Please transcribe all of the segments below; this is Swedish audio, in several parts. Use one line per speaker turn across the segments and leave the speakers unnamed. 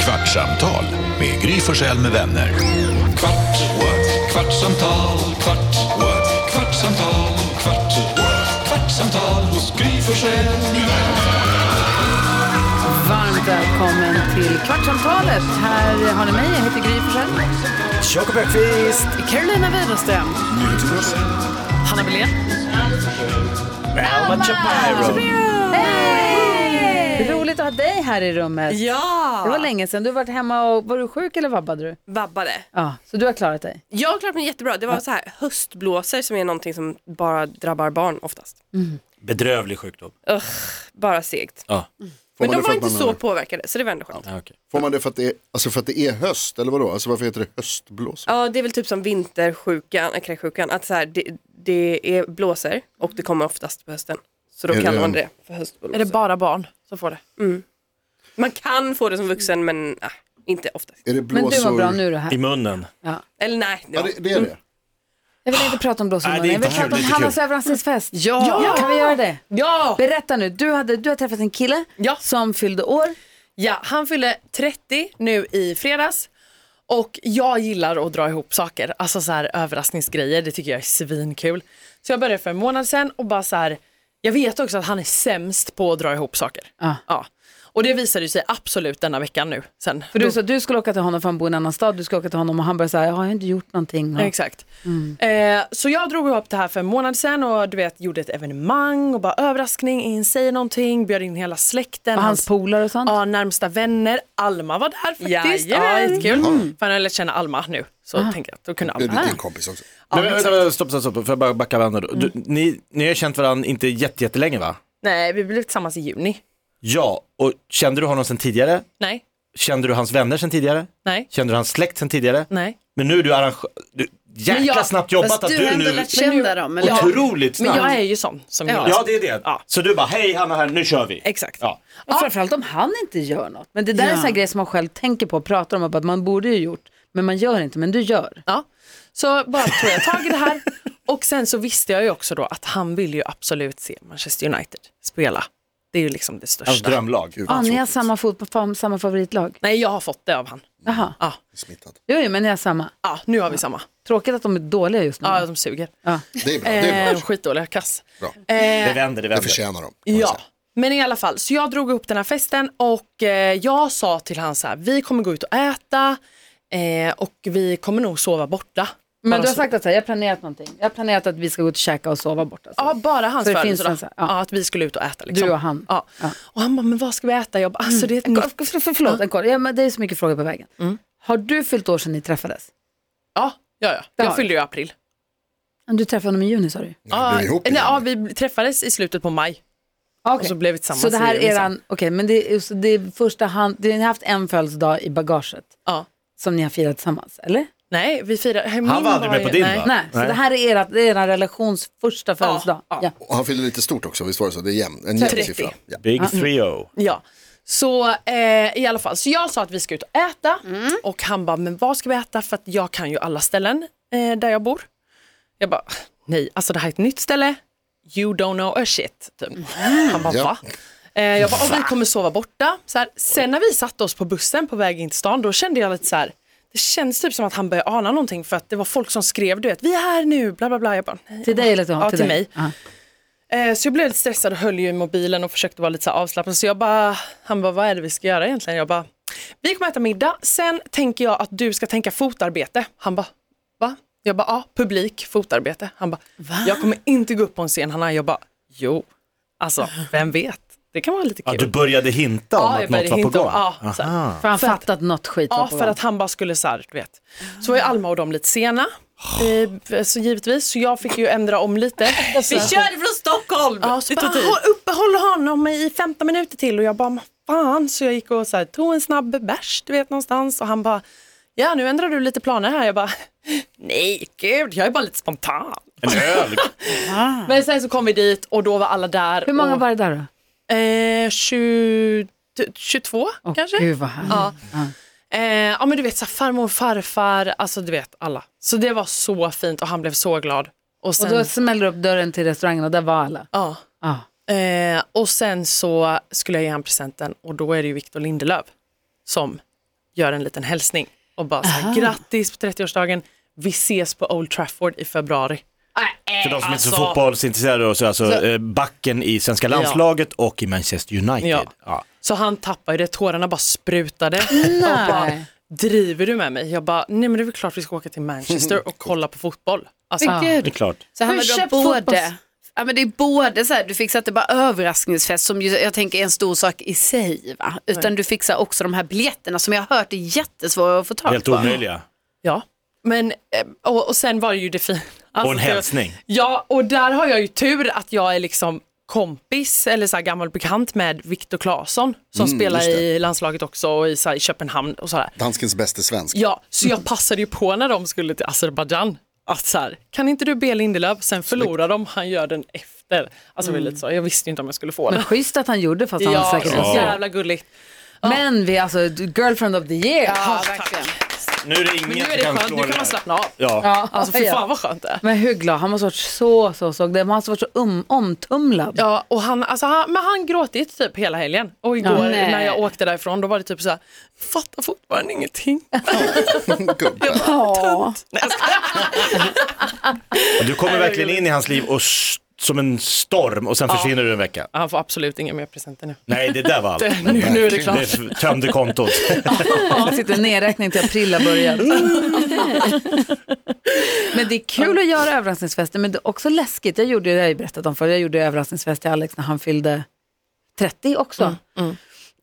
Kvartsamtal med Gry Forssell med vänner. Kvart, what? kvartsamtal, kvart, what? kvartsamtal, kvart, what? kvartsamtal hos Gry Forssell med vänner.
Varmt välkommen till Kvartsamtalet. Här har ni mig, jag heter Gry Forssell.
Jakob Öqvist!
Carolina Widerström. Hanna Billén.
Alma Shapiro!
Hej! Roligt att ha dig här i rummet. Det var
Ja!
länge sedan. Du har varit hemma och var du sjuk eller vabbade du?
Vabbade.
Ja, så du har klarat dig.
Jag har klarat mig jättebra. Det var så här höstblåsor som är någonting som bara drabbar barn oftast.
Bedrövlig sjukdom.
Ugh, bara segt.
Ja.
Får
Men
man
de
det
var
för att
inte
man
så
är-
påverkade så det var ändå skönt.
Ja, okej.
Får man det för att det är, alltså för att det är höst eller vadå? Alltså varför heter det höstblåsa?
Ja det är väl typ som vintersjukan, äh, kräksjukan, att så här, det, det är blåser och det kommer oftast på hösten. Så då
Är det
kallar man
en-
det för höstblåsor.
Är det bara barn som får det?
Man kan få det som vuxen men äh, inte oftast.
Är det
Men
blåsor?
du var bra nu då
I
här.
munnen.
Eller nej, det
Ja,
var...
det, det är det.
Jag vill inte prata om
Nej,
blåsorna.
det är
Jag vill
inte kul,
prata om
det är inte
Hannas
kul.
överraskningsfest. Ja! Kan vi göra det?
Ja!
Berätta nu, du, hade, du har träffat en kille
Ja.
som fyllde år.
ja! Han fyllde 30 nu i fredags. Och jag gillar att dra ihop saker, alltså så här överraskningsgrejer, det tycker jag är svinkul. Så jag började för en månad sedan och bara så här, jag vet också att han är sämst på att dra ihop saker.
Ja.
Ja. Och det visade ju sig absolut denna veckan nu sen.
För du sa att du skulle åka till honom för han bor i en annan stad. Du skulle åka till honom och han bara säga, jag har inte gjort någonting. Och-
Exakt.
Mm.
Eh, så jag drog ihop det här för en månad sedan och du vet gjorde ett evenemang och bara överraskning, ingen säger någonting, bjöd in hela släkten.
Och hans polare och sånt.
Ja, närmsta vänner. Alma var där faktiskt. Ja,
Jajamän.
jättekul.
mm.
För han har lärt känna Alma nu. Så
Ah.
tänker jag att då kunde
Det
Alma.
är din kompis också.
Ja,
men, vänta,
exakt.
vänta, stopp, stopp, stopp. Får jag bara backa varandra då? Du, ni, ni har känt varandra inte jätte, jättelänge va?
Nej, vi blev tillsammans i juni.
Ja, och kände du honom sen tidigare?
Nej,
Kände du hans vänner sen tidigare?
nej,
Kände du hans släkt sen tidigare?
nej.
Mm. Men nu är du arrangör. Du, jäkla
Men jag-
snabbt jobbat
Fast
att
du
du,
har ändå
nu...
lärt känna dem. Eller?
Otroligt
Men
snabbt.
jag är ju sån som gillar
Ja,
sånt.
det är det.
Ja.
Så du bara, hej Hanna här, nu kör vi.
Exakt.
Ja.
Och framförallt om han inte gör något. Men det där är en sån här grej som man själv tänker på och pratar om. och bara Att man borde ju gjort, men man gör inte. Men du gör.
Ja. Så bara tog jag tag i det här. Och sen så visste jag ju också då att han vill ju absolut se Manchester United spela. Det är ju liksom det
Hans
största.
drömlag.
Gud
Ja,
vad
ni har
tråkigt.
samma, fotboll, fam- samma favoritlag.
Nej, jag har fått det av han.
Jaha.
Ja,
Smittad.
Jo, jo, men ni har samma.
ja nu har vi samma.
Mm. Tråkigt att de är dåliga just nu.
Ja, de suger.
Det är bra, det är
Eh,
bra.
skitdåliga, kass.
Bra.
Eh,
Det vänder, det
Det
vänder.
förtjänar de. kan man
Ja,
säga.
men i alla fall. Så jag drog upp den här festen och eh, jag sa till han så här, vi kommer gå ut och äta eh, och vi kommer nog sova borta.
Men
Bara
du har
så-
sagt att så här, jag har planerat någonting. Jag har planerat att vi ska gå ut och käka och sova alltså. borta. Så.
Ja, bara hans
Så det finns
födelsedag.
en så här- ja.
ja. att vi skulle ut och äta. Liksom.
Du och han.
Ja.
Ja.
Och han bara, men vad ska vi äta? Jag bara, alltså det är ett
En
nytt...
kort- för- för- Förlåt, en kort. Ja, men det är så mycket frågor på vägen.
Mm.
Har du fyllt år sedan ni träffades?
Ja, ja, ja.
Ja.
Jag fyllde ju i april. Mm.
Men Du träffade honom i juni sa du.
Ni blev
Ja,
ihop
nej,
igen.
ja, vi träffades i slutet på maj och
Okay.
så blev vi tillsammans.
Så det här
i juni
är
sen.
en, okej, men det är, så det är första hand, det, ni har haft en födelsedag i bagaget
Ja.
som ni har firat tillsammans, eller?
Nej, vi firade... Han
var aldrig med på din,
nej.
va?
Nej, så det här är era, det är era relations första födelsedag.
ja.
Och han fyllde lite stort också, visst var det så? Det är jämn, en jämn
30.
siffra. Ja.
Big oh. 3-0.
Ja, så eh, i alla fall. Så jag sa att vi ska ut och äta och han bara, men vad ska vi äta? För att jag kan ju alla ställen eh, där jag bor. Jag bara, nej, alltså det här är ett nytt ställe. You don't know a shit. Typ. Han bara,
Ja.
va? Eh, jag bara, "Och vi kommer sova borta. Så här, sen när vi satte oss på bussen på väg in till stan, då kände jag lite så här, det känns typ som att han började ana någonting för att det var folk som skrev, du vet, vi är här nu, bla bla bla. Jag bara, nej.
Till dig eller till honom?
Ja, till
dig.
mig.
Ja.
Eh, Så jag blev lite stressad och höll ju i mobilen och försökte vara lite så här avslappnad. Så jag bara, han bara, vad är det vi ska göra egentligen? Jag bara, vi kommer äta middag, sen tänker jag att du ska tänka fotarbete. Han bara, va? Jag bara, ja, publik, fotarbete. Han bara, jag kommer inte gå upp på en scen, Hanna. Jag bara, jo, alltså, vem vet? Det kan vara lite
Ja,
kul.
du började hinta om
Ja,
att
jag
något
började
var på
hinta om-
gång.
ja, så här.
Aha.
För han fattat något skit var
Ja,
på
för
gång.
att han bara skulle så här, du vet. Så var ju Alma och de lite sena, eh, så givetvis. Så jag fick ju ändra om lite. Alltså.
Vi körde från Stockholm!
Ja, så bara, "Håll- uppehåll honom i 15 minuter till och jag bara, "Men fan. Så jag gick och så här, tog en snabb bärs, du vet någonstans och han bara, ja nu ändrar du lite planer här. Jag bara, nej gud, jag är bara lite spontan.
Ah. En öl.
Men sen så kom vi dit och då var alla där.
Hur många
och,
var det där då?
Eh, 20, 22
Åh,
kanske.
Gud vad härligt.
Ja. Eh, ja men du vet så här, farmor och farfar, alltså du vet alla. Så det var så fint och han blev så glad. Och sen,
Och då smäller du upp dörren till restaurangen och där var alla.
ja.
Ja.
Eh, och sen så skulle jag ge han presenten och då är det ju Victor Lindelöf som gör en liten hälsning och bara så här, grattis på 30-årsdagen, vi ses på Old Trafford i februari.
För de som inte är så
Alltså-
fotbollsintresserade då, så alltså
Så-
eh, backen i svenska landslaget och i Manchester United.
Ja.
Ja.
Så han tappade det, tårarna bara sprutade. Och bara, driver du med mig? Jag bara, nej men det är väl klart vi ska åka till Manchester och kolla på fotboll. Alltså,
Men
Det är
gud.
klart.
Så handlar det om
köpt fotbolls-
både, ja, men det är både så här, du fixar inte bara överraskningsfest som ju, jag tänker är en stor sak i sig, va? utan du fixar också de här biljetterna som jag har hört är jättesvåra att få tag
Helt
på.
omöjliga.
ja. Men, eh, och, och sen var det ju det fina.
Och en hälsning.
Ja, och där har jag ju tur att jag är liksom kompis eller så här gammal bekant med Viktor Claesson som spelar i landslaget också och i, så här, i Köpenhamn och sådär.
Danskens bäste svensk.
Ja, så jag passade ju på när de skulle till Azerbajdzjan att så här, kan inte du be Lindelöf, sen förlorar de, han gör den efter. Alltså det var lite så, jag visste ju inte om jag skulle få den.
Men schysst att han gjorde fast han
Ja,
säkert
så jävla gulligt.
Men vi är alltså girlfriend of the year. Alltså,
Ja, verkligen.
Nu är det ingen
Men nu
som
är det
kan
skönt,
slå
nu
det
kan
här.
man slappna av.
Ja.
Ja,
Alltså fy
ja.
fan vad skönt det är.
Men hur glad, han måste ha varit så, så, så, han måste ha varit så um, omtumlad.
Ja, och han, alltså, han, men han gråtit typ hela helgen. Och igår
Nej.
när jag åkte därifrån då var det typ så här, fattar fortfarande ingenting.
Gubben.
Ja.
Du kommer verkligen in i hans liv och s- som en storm och sen försvinner du en vecka.
Han får absolut inga mer presenter nu.
Nej, det där var allt.
Nu, nu är det klart.
Det tömde kontot.
Det sitter en nedräkning till april har börjat. Men det är kul att göra överraskningsfester, men det är också läskigt. Jag gjorde ju det har jag ju berättat om förr, jag gjorde överraskningsfest till Alex när han fyllde 30 också.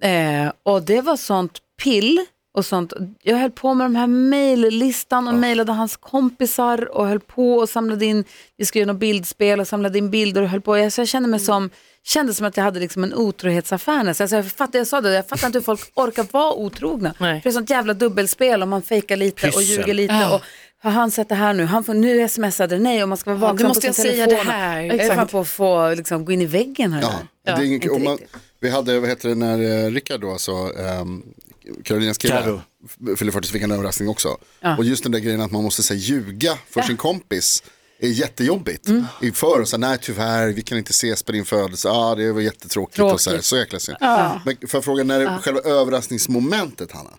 Eh, och det var sånt pill och sånt. Jag höll på med de här mejllistan och mejlade hans kompisar och höll på och samlade in, vi skulle göra något bildspel och samlade in bilder och höll på. Alltså, Jag, så jag kände mig som, kände som att jag hade liksom en otrohetsaffär nästan. Alltså jag, fattar, jag sa det, jag fattar inte hur folk orkar vara otrogna.
Nej.
För det är sånt jävla dubbelspel och man fejkar lite och
Pyssel.
ljuger lite. Och, har han sett det här nu? Han får, nu smsade det nej och man ska vara vaksam
nu måste
på
jag
sin
säga
telefon.
det här.
Jag är fan på att få liksom, gå in i väggen här.
Ja, det är ingen,
inte
om man,
riktigt.
vi hade, vad heter det, när eh, Rickard då, alltså, ehm, Karolinas
Karo.
kille, f- fyllde 40 så fick han en överraskning också. Och just den där grejen att man måste säga ljuga för sin kompis är jättejobbigt.
Mm.
Inför och så här, nej tyvärr, vi kan inte ses på din födelse, ah, det var jättetråkigt och så här, så jäkla synd. Men får jag fråga, när det, själva överraskningsmomentet Hanna,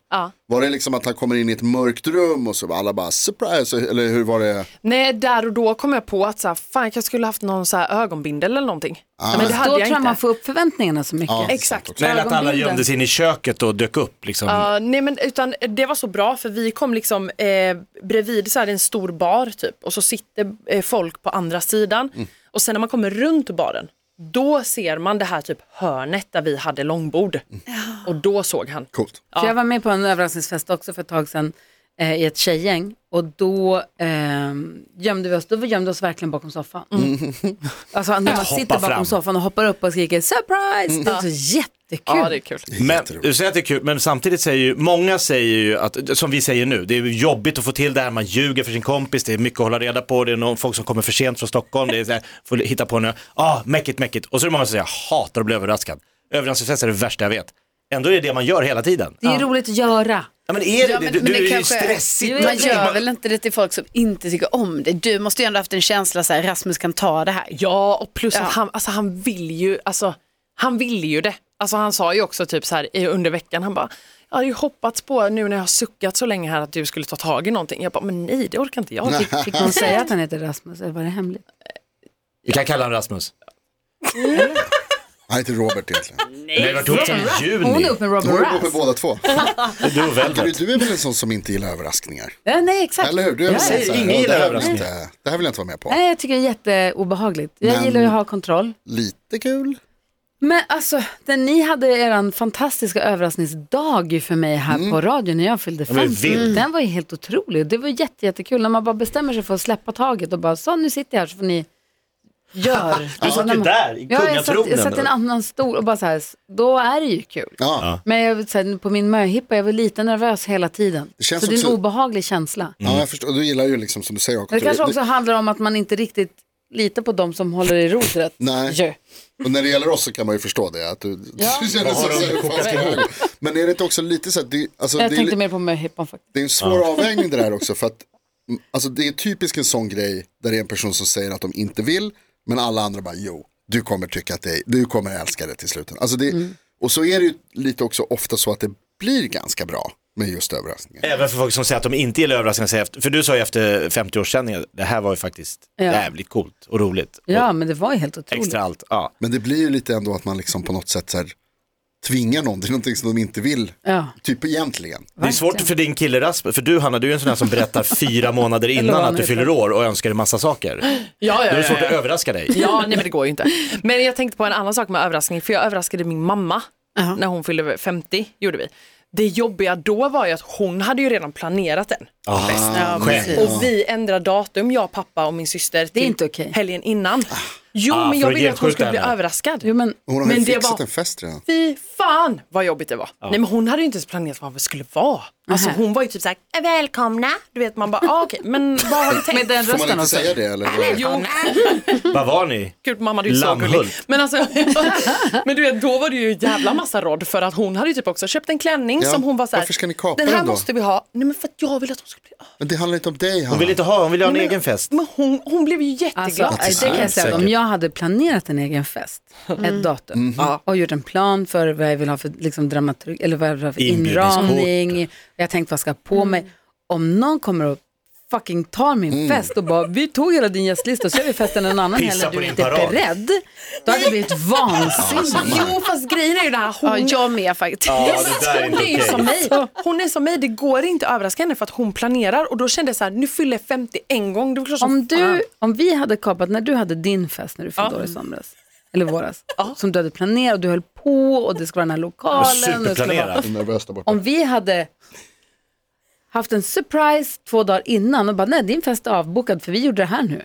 var det liksom att han kommer in i ett mörkt rum och så alla bara surprise, eller hur var det?
Nej, där och då kom jag på att så här, fan, jag kanske skulle haft någon så här ögonbindel eller någonting. Men det
Ah. Då
hade
tror
jag
jag man
inte.
får upp förväntningarna så mycket.
Ja,
Exakt.
också.
Nej, eller att alla gömde sig in i köket och dök upp. Liksom.
Ja, nej men utan det var så bra för vi kom liksom eh, bredvid så här en stor bar typ och så sitter eh, folk på andra sidan
Mm.
och sen när man kommer runt baren då ser man det här typ hörnet där vi hade långbord
Mm.
och då såg han.
Coolt.
För jag var med på en överraskningsfest också för ett tag sedan eh, i ett tjejgäng och då eh, gömde vi oss, då gömde vi oss verkligen bakom soffan.
Mm.
Alltså när man
Mm. Hoppa
sitter bakom
fram. Mm.
soffan och hoppar upp och skriker surprise, det är så jättekul.
Ja det är kul.
Men, du säger att det är kul, men samtidigt säger ju, många säger ju att, som vi säger nu, det är ju jobbigt att få till det här, man ljuger för sin kompis, det är mycket att hålla reda på, det är någon, folk som kommer för sent från Stockholm, det är så här, får hitta på nu, ah, mäckigt, mäckigt. Och så är det många som säger, jag hatar att bli överraskad. Överraskningsfest är det värsta jag vet. Ändå är det det man gör hela tiden.
Det är roligt att göra.
Ja, men är det
Ja,
det?
men-
Du,
men
du
det
är ju
kanske är-
stressigt.
Man gör
Man-
väl inte det till folk som inte tycker om det? Du måste ju ändå haft en känsla så här, Rasmus kan ta det här.
Ja och plus
Ja.
att han, alltså, han vill ju, alltså, han vill ju det. Alltså han sa ju också typ så här i- under veckan, han bara jag hade ju hoppats på nu när jag har suckat så länge här att du skulle ta tag i någonting. Jag bara, men nej det orkar inte jag.
Fick någon säga att han heter Rasmus eller var det hemligt?
Vi kan kalla honom Rasmus.
Han heter Robert egentligen.
Nej, vi har varit ihop sedan i
Hon
juni.
är uppe med Robin
Hon är på
Rass.
med båda två.
Du och
Du,
Velvet.
du är väl en sån som inte gillar överraskningar?
Ja, nej exakt.
Eller hur? Du är väl
säger
sån här,
ingen
"Ja, det här
gillar
vill jag inte- Det här vill jag inte vara med på.
Nej jag tycker det är jätteobehagligt. Jag
Men-
gillar ju att ha kontroll.
Lite kul.
Men alltså, den, ni hade er fantastiska överraskningsdag ju för mig här
Mm.
på radion när jag fyllde
Den var ju
50.
vild.
Den var ju helt otrolig. Det var jätte, jättekul när man bara bestämmer sig för att släppa taget och bara så nu sitter jag här så får ni gör.
Du satt ju där i
Ja, jag satt, jag satt i en
kungatronen.
annan stol och bara så här, då är det ju kul.
Ja.
Men jag, vill säga, på min möhippa, jag var lite nervös hela tiden.
Det känns
så det är en
också-
obehaglig känsla.
Ja, jag förstår. Du gillar ju liksom som du säger.
Men det kanske
Du-
också handlar om att man inte riktigt litar på de som håller i rodret.
Nej.
Ju.
Och när det gäller oss så kan man ju förstå det. Att du, du känner så, så, Men är det inte också lite så att det, alltså, det,
Jag
är,
tänkte
li-
mer på möhippan faktiskt.
det är en svår avvägning det där också. För att, mm, alltså, det är typiskt en sån grej där det är en person som säger att de inte vill. Men alla andra bara jo, du kommer tycka att det är, du
Mm.
kommer älska det till slut. Alltså, det, Och så är det ju lite också ofta så att det blir ganska bra. med just överraskningar.
Även för folk som säger att de inte gillar överraskningar, säger efter- för du sa ju efter 50-årssändningen, det här var ju faktiskt
Ja.
jävligt coolt och roligt.
Ja, men det var ju helt
och
otroligt.
extra allt. Ja.
Men det blir ju lite ändå att man liksom på något sätt så här, tvingar någon till någonting som de inte vill.
Ja.
Typ egentligen.
Det är svårt för din kille Rasmus, för du Hanna, du är ju en sån här som berättar fyra månader
Eller vad
innan
han
att du
heter.
fyller år och önskar dig massa saker.
Ja,
Då
ja,
är det
ja,
svårt att
ja.
överraska dig.
ja nej, men det går ju inte. Men jag tänkte på en annan sak med överraskning, för jag överraskade min mamma när hon fyllde 50, gjorde vi. Det jobbiga då var ju att hon hade ju redan planerat den.
Ah,
Ja, precis.
Och vi ändrar datum, jag, pappa och min syster, till
inte okej.
helgen innan. Jo,
Ah,
men
för
jag
att
ville att hon
gensjuka
skulle bli
henne.
överraskad.
Jo, men,
Hon har ju
Men det
fixat
var-
en fest redan.
Fy fan vad jobbigt det var. Nej men hon hade ju inte ens planerat vad det skulle vara. Alltså
Nähä.
hon var ju typ såhär, välkomna. Du vet man bara, ah, okej men vad har du tänkt?
med den
Får man
rösten
inte
också.
säga det eller?
Jo,
Vad var ni?
gud mamma du är så gullig.
Lammhult.
Men alltså, men du vet då var det ju en jävla massa råd för att hon hade ju typ också köpt en klänning
Ja,
som hon var såhär,
varför ska ni kapa
den här
den då?"
måste vi ha. Nej men för att jag ville att hon skulle bli
Alltså.
Men det handlar inte om dig
Hon
Hanna.
vill inte ha, hon vill ha en egen fest.
men hon, hon blev ju
Alltså,
jätteglad.
det kan jag säga, om jag hade planerat en egen fest, ett
Mhm.
datum, och gjort en plan för vad jag vill ha för liksom, dramaturg, eller vad jag vill ha för
Inbjudningskort.
inramning, jag har tänkt vad jag ska ha på mig. Om någon kommer och fucking tar min
Mm.
fest och bara, vi tog hela din gästlista och så gör vi festen en annan
Pissa
helg när
på
du
din
inte är
parad.
beredd, då hade det blivit vansinnigt.
Jo fast grejen är ju det här, hon
Ja, jag med faktiskt.
Ja, det där är
Hon
inte
är ju som
okej.
mig. Hon är som mig, det går inte att överraska henne för att hon planerar och då kände jag så här, nu fyller jag 50 en gång. Det var klart som
Om,
fan.
du, om vi hade kapat, när du hade din fest när du fyllde år i somras, eller våras, som du hade planerat och du höll på och det skulle vara den här lokalen. och det skulle vara-
Superplanerat.
Jag är nervös där borta.
om vi hade haft en surprise två dagar innan och bara nej din fest är avbokad för vi gjorde det här nu.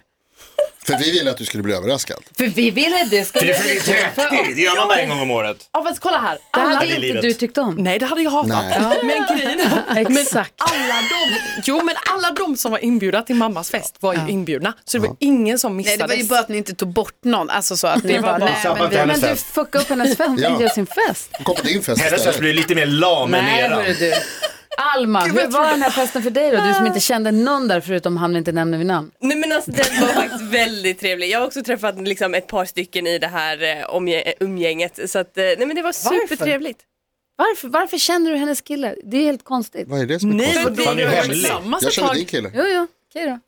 För vi ville att du skulle bli överraskad.
För vi ville det skulle
Det gör man bara en gång om året.
Ja fast kolla här.
Det
Alla...
hade
i
inte
livet.
du tyckt om.
Nej det hade jag hatat.
Nej.
Men grejen är-
Exakt.
alla de, jo men alla de som var inbjudna till mammas fest var ju inbjudna. Så det var ingen som
Nej,
missades.
det var ju bara att ni inte tog bort någon. Alltså så att ni
Det var
bara,
bara-
nej,
Sabbat
men vi,
henne.
Men
Hennes
du
fest.
fuckade upp hennes fest, hon
Ja.
fick göra sin fest.
Hon kom på din fest
Hennes fest
istället.
blir lite mer lam än
Nej
eran.
hörru du. Alma, hur var den här festen för dig då? Du som inte kände någon där förutom han vi inte nämner vid namn.
Nej men alltså den var faktiskt väldigt trevlig. Jag har också träffat liksom, ett par stycken i det här eh, omge- umgänget. Så att, eh, nej men det var supertrevligt.
Varför, varför känner du hennes kille? Det är helt konstigt.
Vad är det som är
Nej,
konstigt?
för det
Fan, det är
var
hemligt.
tillsammans
Jag
ett
känner
tag.
din kille.
Jo, jo, okej då.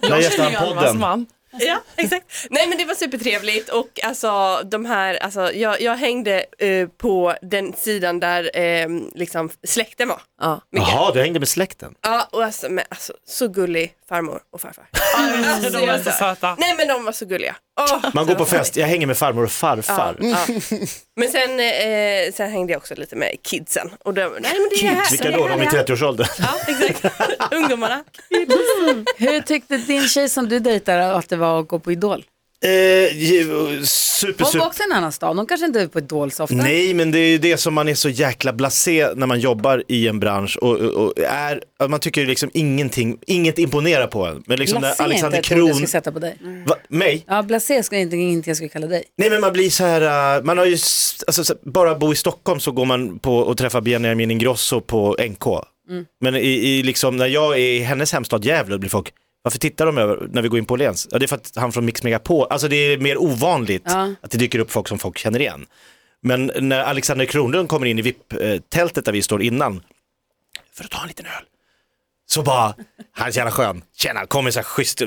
Där gästar
Känner
han
jag Almas
podden.
man.
Ja, exakt. Nej men det var supertrevligt och alltså de här, alltså jag, jag hängde eh, på den sidan där eh, liksom släkten var.
Ja.
Mycket.
Jaha, du hängde med släkten.
Ja, och alltså, men, alltså så gullig farmor och farfar.
Alltså, de var så söta.
Nej men de var så gulliga. Åh,
Man går
det var
på
så
fest, jag hänger med farmor och farfar.
Men sen, eh, sen hängde jag också lite med kidsen. Och de, nej, men det är här,
Vilka
det
då?
här,
De i
det här.
30-årsåldern.
Ja, exakt. Ungdomarna.
Hur tyckte din tjej som du dejtar att det var att gå på Idol?
Eh, ju-
Hon
super,
var
super.
också i en annan stad, hon kanske inte är på Idol så ofta.
Nej, men det är ju det som man är så jäkla blasé när man jobbar i en bransch och, och, och är, att man tycker ju liksom ingenting, inget imponerar på en. Men liksom
Blasé
när
är inte
Alexander
ett ord jag
Kron,
skulle sätta på dig.
va, mig?
Ja, blasé skulle inte, inte jag skulle kalla dig.
Nej men man blir så här, eh, man har ju, s- alltså, så- bara bo i Stockholm så går man på och träffar Benjamin Ingrosso på NK. Men i, i liksom, när jag är i hennes hemstad Gävle blir folk, varför tittar de över när vi går in på Åhléns? Ja det är för att han från Mix Megapol, alltså det är mer ovanligt att det dyker upp folk som folk känner igen. Men när Alexander Kronlund kommer in i VIP-tältet där vi står innan, för att ta en liten öl. Så bara, han är så jävla skön. Tjena, kommer så här schysst,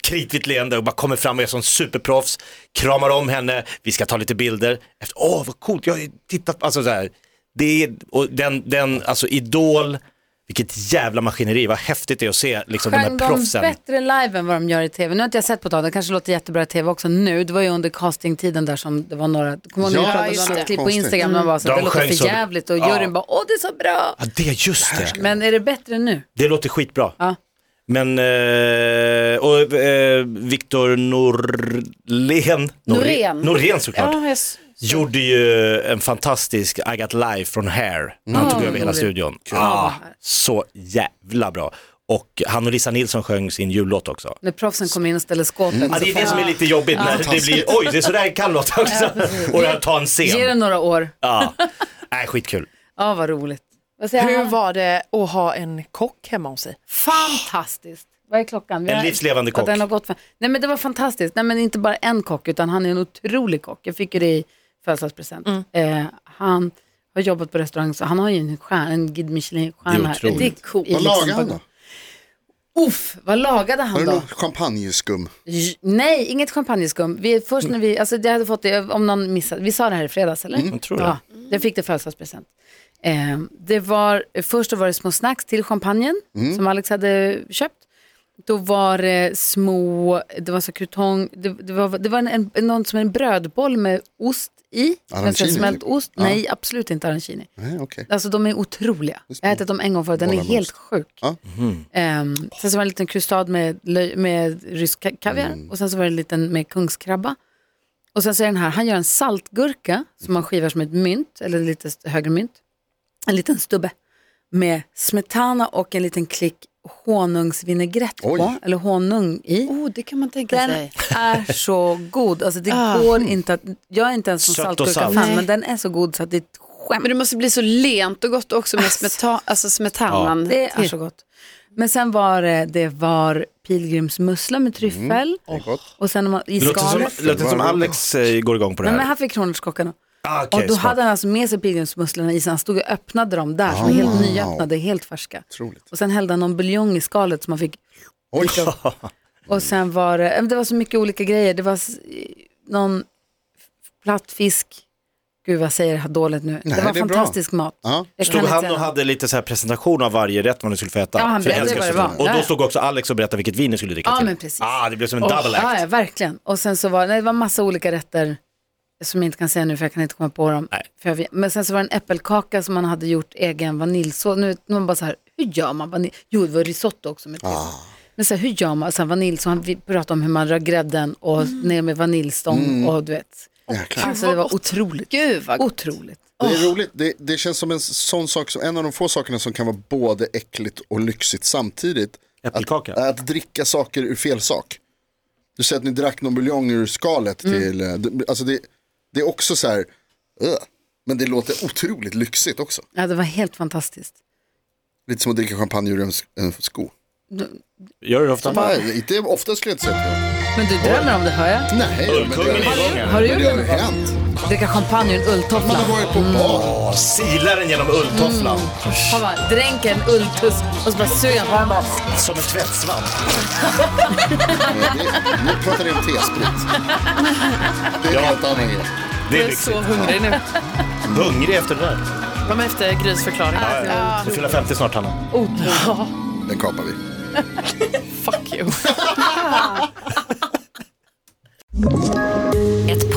kritvitt leende och bara kommer fram och är som superproffs. Kramar om henne, vi ska ta lite bilder. Efter, Åh, vad coolt, jag har ju tittat på, alltså så här. Det är, och den, den, alltså Idol, vilket jävla maskineri, vad häftigt det är att se liksom de
Sjöng
här
de
proffsen.
bättre live än vad de gör i tv? Nu har inte jag sett på ett tag, det kanske låter jättebra i tv också nu. Det var ju under castingtiden där som det var några, kommer ihåg när vi
Ja,
pratade om
just
några
det.
klipp på
Konstigt.
Instagram, man bara så,
De
det låter
sjöng
för
så-
jävligt och
Ja.
juryn bara, åh det är så bra.
Ja, det, är just det.
Men är det bättre nu?
Det låter skitbra.
Ja.
Men, eh, och eh, Viktor Norlén,
Norén.
Norén såklart.
Ja, jag s-
gjorde ju en fantastisk I got live från Hair. Han tog över hela studion. Ah, så jävla bra. Och han och Lisa Nilsson sjöng sin jullåt också.
När proffsen kommer in och ställer skåpet.
Ja,
så
det är
fan.
det som är lite jobbigt när det blir, oj det är sådär det kan låta också. Och jag tar en
Ge det
scen.
några år.
Ja, nej skitkul.
Ja, vad roligt. Vad säger
Hur
han?
var det att ha en kock hemma hos sig?
Fantastiskt. Vad är klockan? Vi
En
har-
livslevande
att
kock.
Den har gått för... Nej men det var fantastiskt. Nej men inte bara en kock utan han är en otrolig kock. Jag fick ju det i födelsedagspresent. Eh, han har har jobbat på restaurang, så han har ju en, stjärna, en Guide Michelin-stjärna.
Det är otroligt.
är coolt.
Vad lagade
liksom
han då?
Uff, vad lagade
Var
han
det
då?
något champagneskum?
J- Nej, inget champagneskum. Vi, först när vi, alltså det hade fått det, om någon missade, vi sa det här i fredags eller?
jag tror det.
ja, det fick det i födelsedagspresent. Eh, det var, först så var det små snacks till champagnen som Alex hade köpt. Då var det små, det var så krutong, det, det var, det var en, en, någon som en brödboll med ost i. Men så
Arancini,
Smält
typ.
ost,
Ja.
nej absolut inte arancini.
Nej, okej.
Alltså de är otroliga. Jag har ätit dem en gång förut, den är
Bollar med
helt sjuk.
Ja.
Ehm, sen så var det en liten krustad med, löj- med rysk ka- kaviar
Mm.
och sen så var det en liten med kungskrabba. Och sen så är den här, han gör en saltgurka som man skivar som ett mynt, eller lite st- högre mynt. En liten stubbe med smetana och en liten klick honungsvinägrett på,
Oj.
eller honung i.
Oh, det kan man tänka
Den
sig.
är så god. Alltså det går inte att, jag är inte ens en
Sött och
saltgurka-fan,
salt.
men den är så god så att det är ett skämt.
Men det måste bli så lent och gott också med smeta- alltså smetanan.
Det är så gott. Men sen var det, det var pilgrimsmussla med tryffel.
Mm, Det är gott.
Och sen var- i
Det låter som,
skalet.
det låter som Alex eh, går igång på det
Nej men
här.
här fick kronärtskockarna.
Ah,
Och
okej,
då
smart.
hade han alltså med sig pilgrimsmusslorna i så han stod och öppnade dem där som är helt nyöppnade, helt färska.
Otroligt.
Och sen hällde han någon buljong i skalet som man fick
Oj,
Och sen var det, eh, det var så mycket olika grejer. Det var s- någon f- platt fisk. Gud vad jag säger jag dåligt nu.
Nej,
det var
det är bra.
fantastisk mat.
Ja.
Jag kan
Stod
inte
han
säga
och
något.
hade lite så här presentation av varje rätt man nu skulle få äta?
Ja, han
För jag
berättade
älskar
vad det
sånt.
var.
Och
Ja,
då
ja.
stod också Alex och berättade vilket vin ni skulle dricka
Ja,
till.
men precis.
Ah, det blev som en
Och-
double
Ja,
act.
ja, verkligen. Och sen så var nej, det var massa olika rätter som jag inte kan säga nu för jag kan inte komma på dem.
Nej.
För jag, vet- men sen så var det en äppelkaka som man hade gjort egen vaniljsås. Nu nu är man bara så här, hur gör man vanilj? Jo, det var risotto också med ah. Men så här, hur gör man? Sen vaniljsås, han vi- pratade om hur man rör grädden och ner med vaniljstång och du vet.
jäklar.
Alltså det var otroligt.
Gud vad gott.
Otroligt.
Det är roligt. Det, det känns som en sån sak, som, en av de få sakerna som kan vara både äckligt och lyxigt samtidigt.
Äppelkaka.
Att, att dricka saker ur fel sak. Du säger att ni drack någon buljong ur skalet till, eh, det- alltså det, det är också så här, "Ugh." men det låter otroligt lyxigt också.
Ja, det var helt fantaskt.
Lite som att dricka champagne ur en, s- en sko.
Gör du det ofta?
Nej, inte ofta skulle jag inte säga det.
Men du drömmer om det hör jag.
Nej, men det,
Ullkungen är
har-
igång här.
Har du
men
gjort
det har ju
det? Mm.
hänt.
Dricka champagne ur en
Man
ulltoffla.
har varit på bar.
Åh, silar den genom ulltofflan.
Han bara dränker en ulltuss och så bara suger han på den. bara-
Som en tvättsvamp.
Nej, det- Nu pratar vi om T-sprit. Det är en helt annan grej.
Det är
Jag är
lyxigt.
så hungrig nu.
Hungrig efter det där.
Var med efter Grys förklaring.
Du fyller 50 snart Hanna.
Den kapar vi.
Fuck you.
Ett